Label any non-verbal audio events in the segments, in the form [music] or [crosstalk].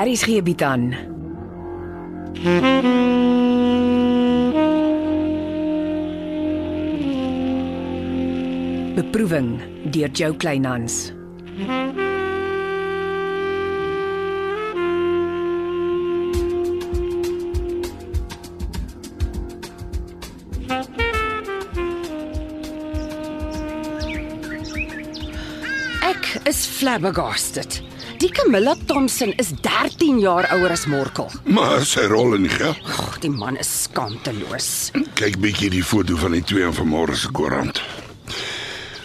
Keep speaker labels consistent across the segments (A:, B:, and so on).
A: Aries gee bied aan. Beproeving deur Jo Kleinhans.
B: Ek is flabbergasted. Die Camilla Thompson is 13 jaar ouer as Morkel.
C: Maar sy rol in die geld.
B: Ag, die man is skandeloos.
C: Kyk bietjie die foto van die twee in vanmôre se koerant.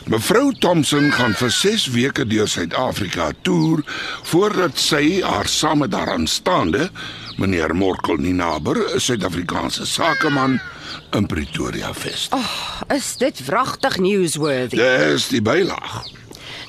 C: Mevrou Thompson gaan vir 6 weke deur Suid-Afrika toer voordat sy haar saam met haar aanstaande, meneer Morkel Ninaber, 'n Suid-Afrikaanse sakeman in Pretoria vestig. Oh.
B: Is dit wragtig newsworthy?
C: Dis die bylaag.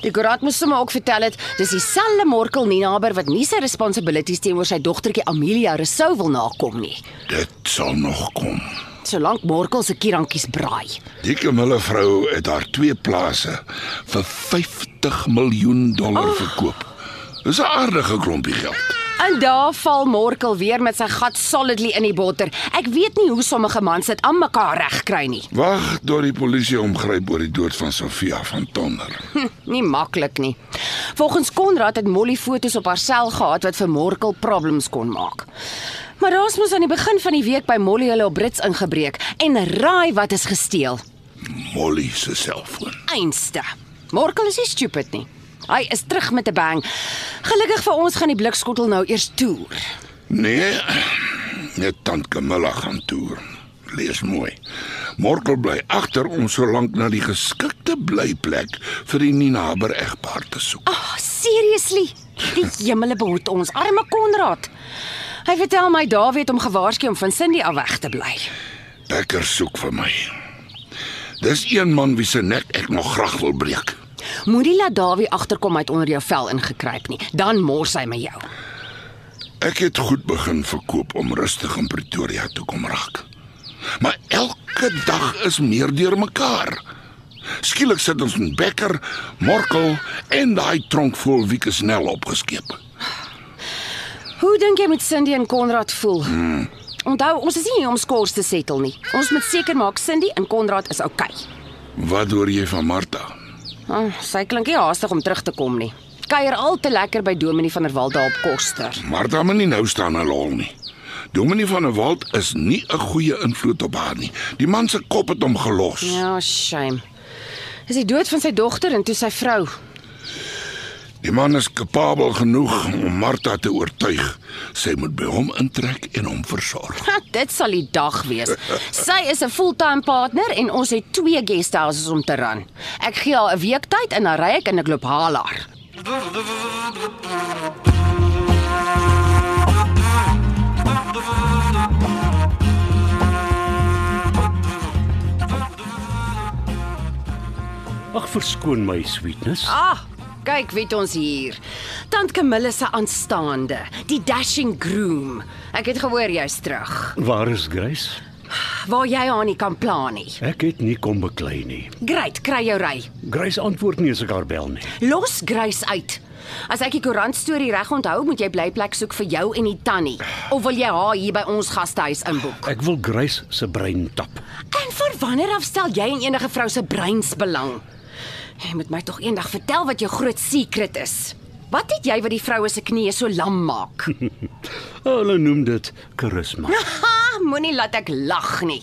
B: Die koerant moes sommer ook vertel het dis dieselfde Morkel Ninaber wat nie sy responsibilities teenoor sy dogtertjie Amelia Resou wil nakom nie,
C: Dit sal nog kom.
B: solank Morkel se kierantjies braai.
C: Die Camille vrou het haar twee plase vir 50 miljoen dollar oh. verkoop. Dis 'n aardige klompie geld.
B: En daar val Morkel weer met sy gat solidly in die botter. Ek weet nie hoe sommige mans dit aan mekaar reg kry nie.
C: Wag tot die polisie omgryp oor die dood van Sofia van Tonder.
B: Hm, nie maklik nie. Volgens Konrad het Molly fotos op haar sel gehad wat vir Morkel problems kon maak. Maar ons moes aan die begin van die week by Molly hulle op Brits ingebreek en raai wat is gesteel.
C: Molly se selfoon.
B: Einste. Morkel is nie stupid nie. Hy is terug met 'n bang. Gelukkig vir ons gaan die blikskottel nou eers toer.
C: Nee, net tant Camilla gaan toer. Lees mooi. Morkel bly agter om solank na die geskikte blyplek vir die Ninaber egpaar te soek.
B: Ag, oh, seriously. Die hemele behoed ons arme Konrad. Hy vertel my Dawie het hom gewaarsku om van Cindy af weg te bly.
C: Becker soek vir my. Dis een man wie se nek ek nog graag wil breek.
B: Moenie laat Dawie agterkom uit onder jou vel ingekruip nie. Dan mors hy met jou.
C: Ek het goed begin verkoop om rustig in Pretoria toe kom raak. Maar elke dag is meer deurmekaar. Skielik sit ons met Becker, Morkel en daai tronk vol wieke snel opgeskeep.
B: Hoe dink jy moet Cindy en Konrad voel? Hmm. Onthou, ons is nie hier om skors te settle nie. Ons moet seker maak Cindy en Konrad is oukei. Okay.
C: Wat hoor jy van Martha?
B: Oh, sy klink nie haastig om terug te kom nie. Kuier al te lekker by Dominee van der Walt daar op Koster.
C: Martha moet nie nou staan en lol nie. Dominee van der Walt is nie 'n goeie invloed op haar nie. Die man se kop het hom gelos.
B: Ja, shame. Dis die dood van sy dogter en toe sy vrou.
C: Die man is kapabel genoeg om Martha te oortuig. Sy moet by hom intrek en hom versorg.
B: Ha, dit sal die dag wees. Sy is 'n fulltime partner en ons het twee guesthouses om te ran. Ek gee haar 'n week tyd en dan ry ek en ek loop haal haar.
D: Ag verskoon my sweetness.
B: Ah, kyk wie het ons hier. Tant Camille se aanstaande, die dashing groom. Ek het gehoor jy's terug.
D: Waar is Grace?
B: Waar jy haar nie kan plan nie.
D: Ek het nie kom beklei nie.
B: Great, kry jou ry.
D: Grace antwoord nie as ek haar bel nie.
B: Los Grace uit. As ek die koerant storie reg onthou, moet jy blyplek soek vir jou en die tannie. Of wil jy haar hier by ons gastehuis inboek?
D: Ek wil Grace se brein tap.
B: En van wanneer af stel jy en enige vrou se breins belang? Jy moet my tog eendag vertel wat jou groot secret is. Wat het jy wat die vroue se knieë so lam maak?
D: Hulle noem dit
B: Ja.
D: karisma.
B: Ha, [laughs] moenie laat ek lag nie.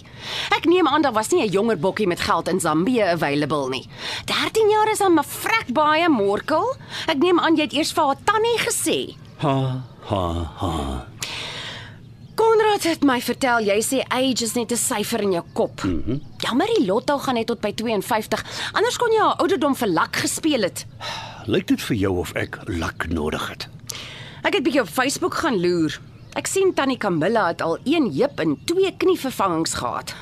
B: Ek neem aan daar was nie 'n jonger bokkie met geld in Zambië available nie. 13 jaar is aan 'n vrek baie morkel. Ek neem aan jy het eers vir haar tannie gesê.
D: Ha ha ha.
B: Konrad het my vertel jy sê age is net 'n syfer in jou kop. Mm -hmm. Jammer die lotto gaan net tot by 52. Anders kon jy haar ouderdom vir lak gespeel het.
D: Lyk dit vir jou of ek lak nodig het?
B: Ek het bietjie op Facebook gaan loer. Ek sien tannie Camilla het al een heup en twee [laughs]
D: Ah,
B: knievervangings gehad.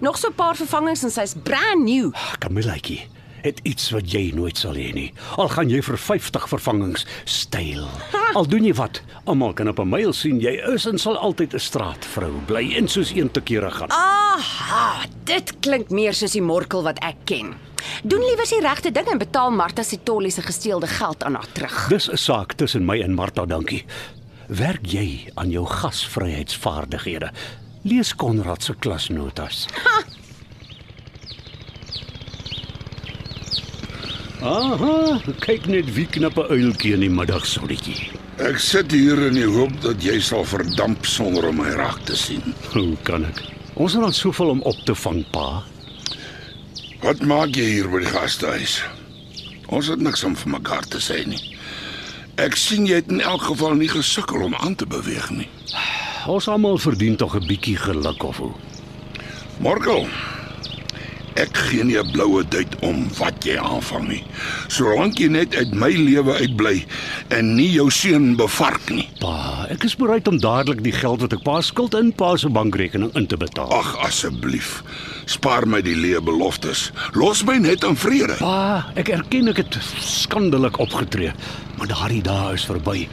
B: Nog so 'n paar vervangings en sy's brand new.
D: Kamilaitjie, het iets wat jy nooit sal hê nie. Al gaan jy vir 50 vervangings styl. Al doen jy wat, almal kan op 'n myl sien jy is en sal altyd 'n straatvrou bly en soos een te kere gaan.
B: Aha, dit klink meer soos die morkel wat ek ken. Doen liewer die regte ding en betaal Martha se tollie se gesteelde geld aan haar terug.
D: Dis 'n saak tussen my en Martha, dankie. Werk jy aan jou gasvryheidsvaardighede? Lees Konrad se klasnotas. [laughs] Aha, kyk net wie knappe uiltjie in die middagsolletjie.
C: Ek sit hier in die hoop dat jy sal verdamp sonder om my raak te sien.
D: Hoe kan ek? Ons het al soveel om op te vang, pa.
C: Wat maak jy hier by die gastehuis? Ons het niks om vir mekaar te sê nie. Ek sien jy het in elk geval nie gesukkel om aan te beweeg nie.
D: Ons almal verdien tog 'n bietjie geluk of hoe.
C: Morgel. Ek gee nie 'n bloue duit om wat jy aanvang nie. Solank jy net uit my lewe uitbly en nie jou seun bevark nie.
D: Pa, ek is bereid om dadelik die geld wat ek pa skuld in pa se bankrekening in te betaal.
C: Ag asseblief, spaar my die leë beloftes. Los my net in vrede.
D: Pa, ek erken ek het skandelik opgetree, maar daardie dae is verby.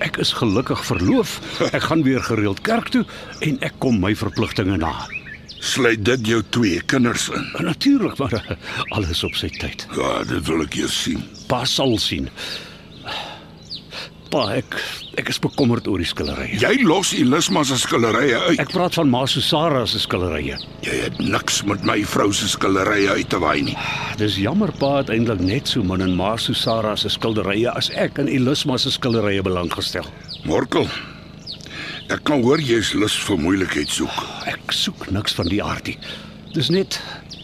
D: Ek is gelukkig verloof. Ek gaan weer gereeld kerk toe en ek kom my verpligtinge na.
C: Sluit dit jou twee kinders in.
D: En natuurlik, maar [laughs] eh, alles op sy tyd.
C: Ja, dit wil ek eers sien.
D: Pa sal sien. Pa, ek ek is bekommerd oor die skillerye.
C: Jy los Elisma se skillerye uit.
D: Ek praat van ma Susara se skillerye.
C: Jy het niks met my vrou se skillerye uit te waai nie.
D: Dis jammer pa het eintlik net so min in ma Susara se skilderye as ek in Elisma se skilderye belang gestel.
C: Morkel. Ek kan hoor jy's lus vir moeilikheid soek.
D: Ek soek niks van die aard nie. Dis net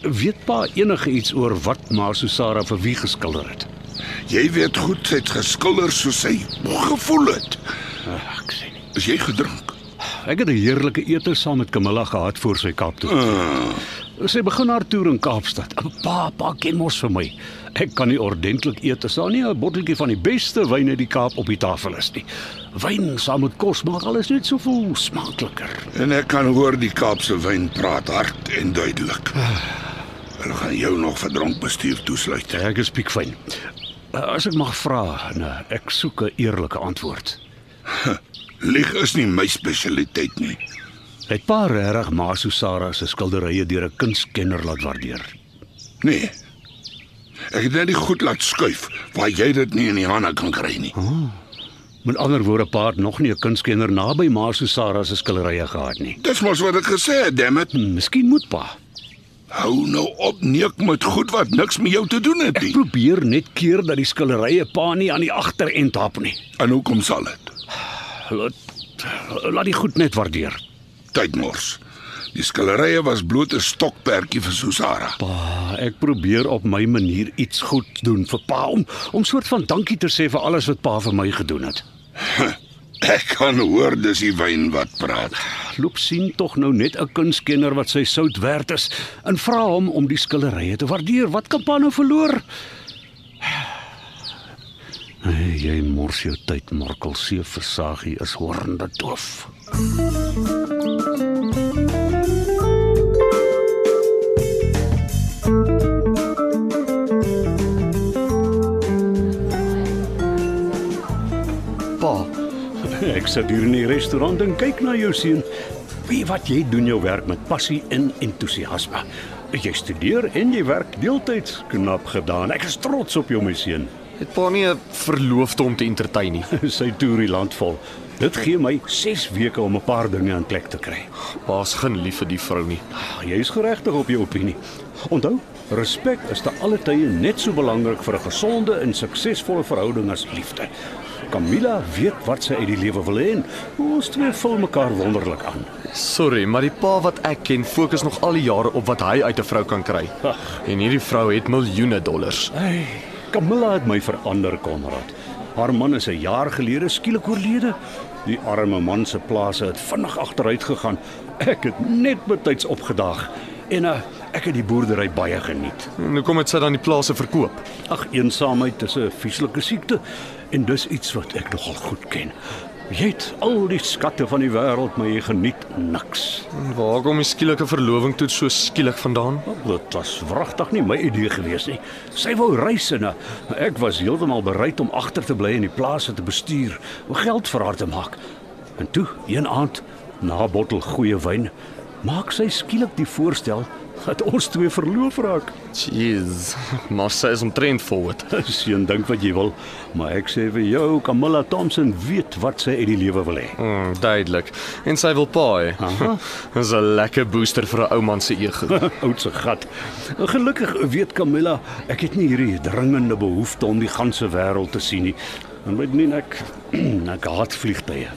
D: weet pa enige iets oor wat maar Susara vir wie geskilder het.
C: Jy weet goed sy't geskilder soos sy gevoel het.
D: Ag, ek sê nie.
C: Is jy gedrink?
D: Ek het 'n heerlike ete saam met Camilla gehad voor sy Kaap toe.
C: Uh,
D: Sy begin haar toer in Kaapstad. Pa, pa ken mos vir my. Ek kan nie ordentlik eet as daar nie 'n botteltjie van die beste wyn uit die Kaap op die tafel is nie. Wyn saam met kos maak alles net soveel smaakliker.
C: en ek kan hoor die Kaapse wyn praat hard en duidelik. Hulle gaan jou nog vir dronk bestuur toesluit.
D: Ek is piekfyn. As ek mag vra, nee, ek soek 'n eerlike antwoord.
C: Lieg is nie my spesialiteit nie.
D: Het pa regtig Masusara se skilderye deur 'n kunstkenner laat waardeer.
C: Nee. Ek het net die goed laat skuif waar jy dit nie in die hande kan kry nie.
D: Met ander woorde, pa het nog nie 'n kunstkenner naby Masusara se skilderye gehad nie.
C: Dis mos wat ek gesê het, dammit.
D: Hm, Miskien moet pa.
C: Hou nou op neek met goed wat niks met jou te doen het
D: Ek
C: nie.
D: probeer net keer dat die skilderye pa nie aan die agterend hap nie.
C: En hoekom sal dit?
D: Laat laat die goed net waardeer.
C: Tydmors. Die skillerye was bloot 'n stokperdjie vir Susara.
D: Pa, ek probeer op my manier iets goed doen vir pa om om soort van dankie te sê vir alles wat pa vir my gedoen het.
C: Ek kan hoor dis die wyn wat praat.
D: Loop sien tog nou net 'n kunstkenner wat sy sout werd is en vra hom om die skilderye te waardeer. Wat kan pa nou verloor? Hey, jy mors jou tyd, Morkel se versaagie is horrende doof. Pa, ek sit hier in die restaurant en kyk na jou seun. Wie wat jy doen jou werk met passie en entoesiasme. Jy studeer en jy werk deeltyds knap gedaan. Ek is trots op jou my seun. [laughs]
E: Het pa nie 'n verloofde om te entertain nie.
D: Sy toer die land vol. Dit gee my 6 weke om 'n paar dinge aan plek te kry. Ah,
E: Pa's geen lief vir die vrou nie.
D: Jy is geregtig op jou opinie. Onthou, respek is te alle tye net so belangrik vir 'n gesonde en suksesvolle verhouding as liefde. Camilla weet wat sy uit die lewe wil hê en ons twee vul mekaar wonderlik aan.
E: Sorry, maar die pa wat ek ken, fokus nog al die jare op wat hy uit 'n vrou kan kry.
D: Ag.
E: En hierdie vrou het miljoene dollars.
D: Hey, Camilla het my verander, Konrad. Haar man is 'n jaar gelede skielik oorlede. Die arme man se plase het vinnig agteruit gegaan. Ek het net betyds opgedaag en uh, ek het die boerdery baie geniet.
E: En hoekom het sy dan die plase verkoop?
D: Ag, eensaamheid is 'n vieslike siekte en dis iets wat ek nogal goed ken. Jy het al die skatte van die wêreld, maar jy geniet niks.
E: En waar kom die skielike verloving toe so skielik vandaan?
D: Wel, Dit was wragtig nie my idee gewees nie. Sy wou reis en uh, ek was heeltemal bereid om agter te bly en die plase te bestuur, om geld vir haar te maak. En toe, een aand, na 'n bottel goeie wyn, maak sy skielik die voorstel dat ons twee verloof raak. [laughs]
E: Jeez, [laughs] maar sy is omtrent forward.
D: Seun, dink wat jy wil, maar ek sê vir jou, Camilla Thompson weet wat sy uit die lewe wil hê.
E: Mm, duidelik. En sy wil paai. [laughs] Dis 'n lekker booster vir 'n ou man se ego.
D: [laughs] Oudse gat. Gelukkig weet Camilla, ek het nie hierdie dringende behoefte om die ganse wêreld te sien nie. En weet nie ek [clears throat] ek haat vliegtye.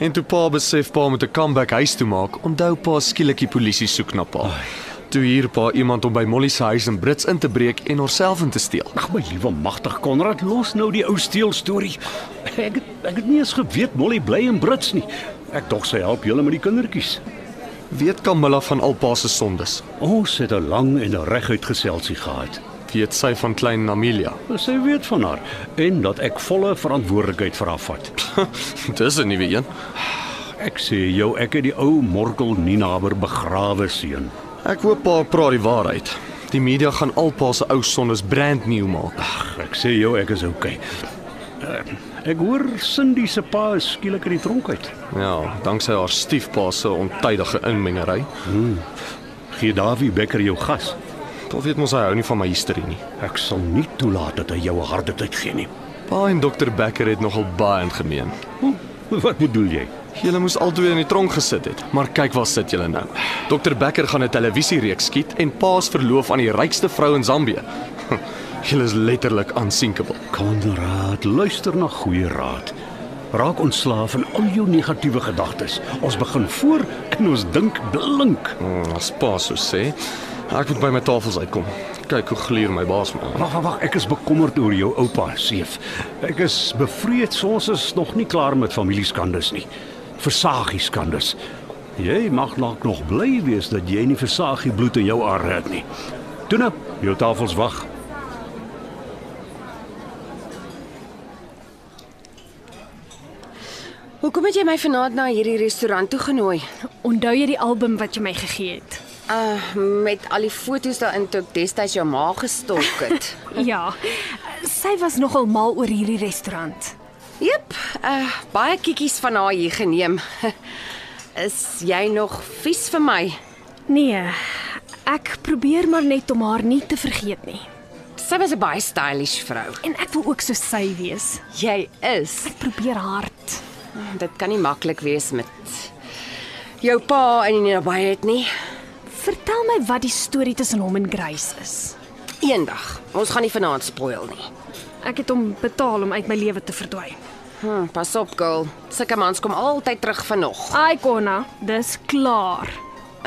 E: en toe pa besef pa moet 'n comeback huis toe maak, onthou pa skielik die polisie soek na pa. Toe hier pa iemand om by Molly se huis in Brits in te breek en haarself in te steel.
D: Ag my liewe magtig Konrad, los nou die ou steel storie. Ek het, ek het nie eens geweet Molly bly in Brits nie. Ek dog sy help julle met die kindertjies.
E: Weet Camilla van al pa se sondes?
D: Ons het 'n lang en 'n reguit geselsie gehad.
E: Weet sy van klein Amelia? [laughs]
D: Sy weet van haar en dat ek volle verantwoordelikheid vir haar vat.
E: Dis 'n nuwe een.
D: Ek sê jou, ek het die ou Morkel Ninaber begrawe seun.
E: Ek hoop pa praat die waarheid. Die media gaan al pa se ou sondes brand new maak.
D: Ag, ek sê jou ek is okay. Eh, Ek hoor Cindy se pa is skielik uit die tronk uit.
E: Ja, danksy haar stiefpa se ontydige inmengery.
D: Gee Davie Becker jou gas.
E: Pa weet mos hy hou nie van my hysterie nie.
D: Ek sal nie toelaat dat hy jou 'n harde tyd gee nie.
E: Pa en dokter Becker het nogal baie in gemeen.
D: Hm, wat bedoel jy?
E: Julle moes albei in die tronk gesit het, maar kyk waar sit julle nou. Dokter Becker gaan 'n televisiereeks skiet en pa's verloof aan die rykste vrou in Zambië. [laughs] Julle is letterlik unsinkable.
D: Konrad, luister na goeie raad. Raak ontslaaf van al jou negatiewe gedagtes. Ons begin voor en ons dink blink.
E: Hmm, as pa so sê, ek moet by my tafels uitkom. Kyk hoe gluur my baas my.
D: Wag, wag, wag, ek is bekommerd oor jou oupa, Seef. Ek is bevrees ons is nog nie klaar met familieskandes nie. Versagieskandes. Jy mag dalk nog bly wees dat jy nie versagie bloed in jou are het nie. Toe nou, jou tafels wag.
B: Hoekom het jy my vanaand na hierdie restaurant toe genooi?
F: Onthou jy die album wat jy my gegee het? [laughs]
B: Uh met al die foto's daarin toe ek destyds jou ma gestalk [laughs] het.
F: Ja. Sy was nogal mal oor hierdie restaurant.
B: Jep, uh baie kiekies van haar hier geneem. [laughs] Is jy nog vies vir my?
F: Nee, ek probeer maar net om haar nie te vergeet nie.
B: Sy was 'n baie stylish vrou.
F: En ek wil ook so sy wees.
B: Jy is.
F: Ek probeer hard.
B: Dit kan nie maklik wees met jou pa in die nabyheid nie.
F: Vertel my wat die storie tussen hom en Grace is.
B: Eendag. Ons gaan nie vanaand spoil nie.
F: Ek het hom betaal om uit my lewe te verdwyn.
B: Hm, pas op, girl. Sulke mans kom altyd terug van nog.
F: Ai Konna, dis klaar.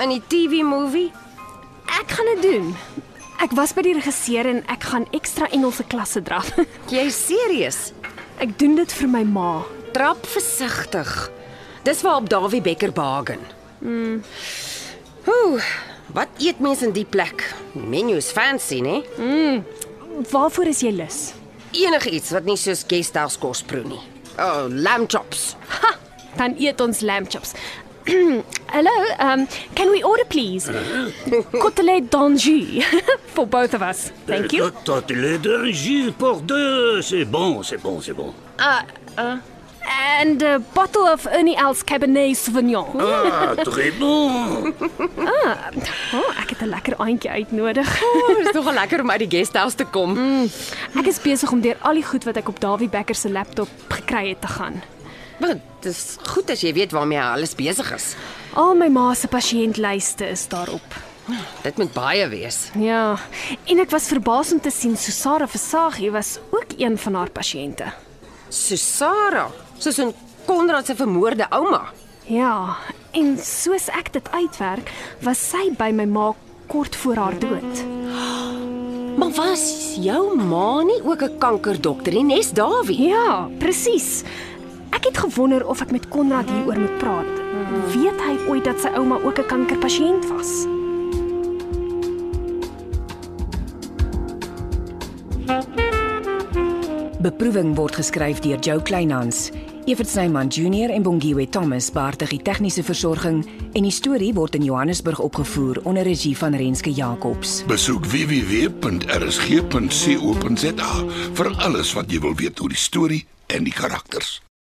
B: In die TV movie
F: Ek gaan dit doen. Ek was by die regisseur en ek gaan ekstra Engelse klasse draf. [laughs]
B: Jy is serieus?
F: ek doen dit vir my ma.
B: Trap versigtig. Dis waarop Dawie Becker Bagen. Mm. Ooh, wat eet mense in die plek? Die menu is fancy, né?
F: Waarvoor is jy lus?
B: Enige iets wat nie soos guesthouse kos proe nie. Oh, lamb [laughs] chops.
F: Ha, dan eet ons lamb chops. [clears throat] Hello, um can we order please? Côtelet d'Anjou [laughs] for both of us. Thank you.
D: Tot le danger pour deux, c'est bon, c'est bon, c'est bon.
F: And a bottle of Ernie Els Cabernet Sauvignon. Oh,
D: Ah, très bon.
F: Oh, ek het 'n lekker aandjie uitnodig.
B: Oh, Dis nogal lekker om uit die guesthouse te kom. Mm.
F: Ek is besig om deur al die goed wat ek op Dawie Becker se laptop gekry het te gaan.
B: Maar dis goed as jy weet waarmee hy alles besig is.
F: Al my ma se pasiëntlyste is daarop.
B: Dit moet baie wees.
F: Ja, en ek was verbaas om te sien Susara Versagie was ook een van haar pasiënte.
B: Susara, soos 'n Konrad se vermoorde ouma.
F: Ja, en soos ek dit uitwerk, was sy by my ma kort voor haar dood.
B: Maar was jou ma nie ook 'n kankerdokter nie, Nes Dawie?
F: Ja, presies. Ek het gewonder of ek met Konrad hieroor moet praat. Weet hy ooit dat sy ouma ook 'n kankerpasiënt was?
A: Beproeving word geskryf deur Jo Kleinhans Evert Snyman Junior en Bongiwe Thomas beheerdig die tegniese versorging en die storie word in Johannesburg opgevoer onder regie van Renske Jacobs.
C: Besoek www.rsg.co.za vir alles wat jy wil weet oor die storie en die karakters.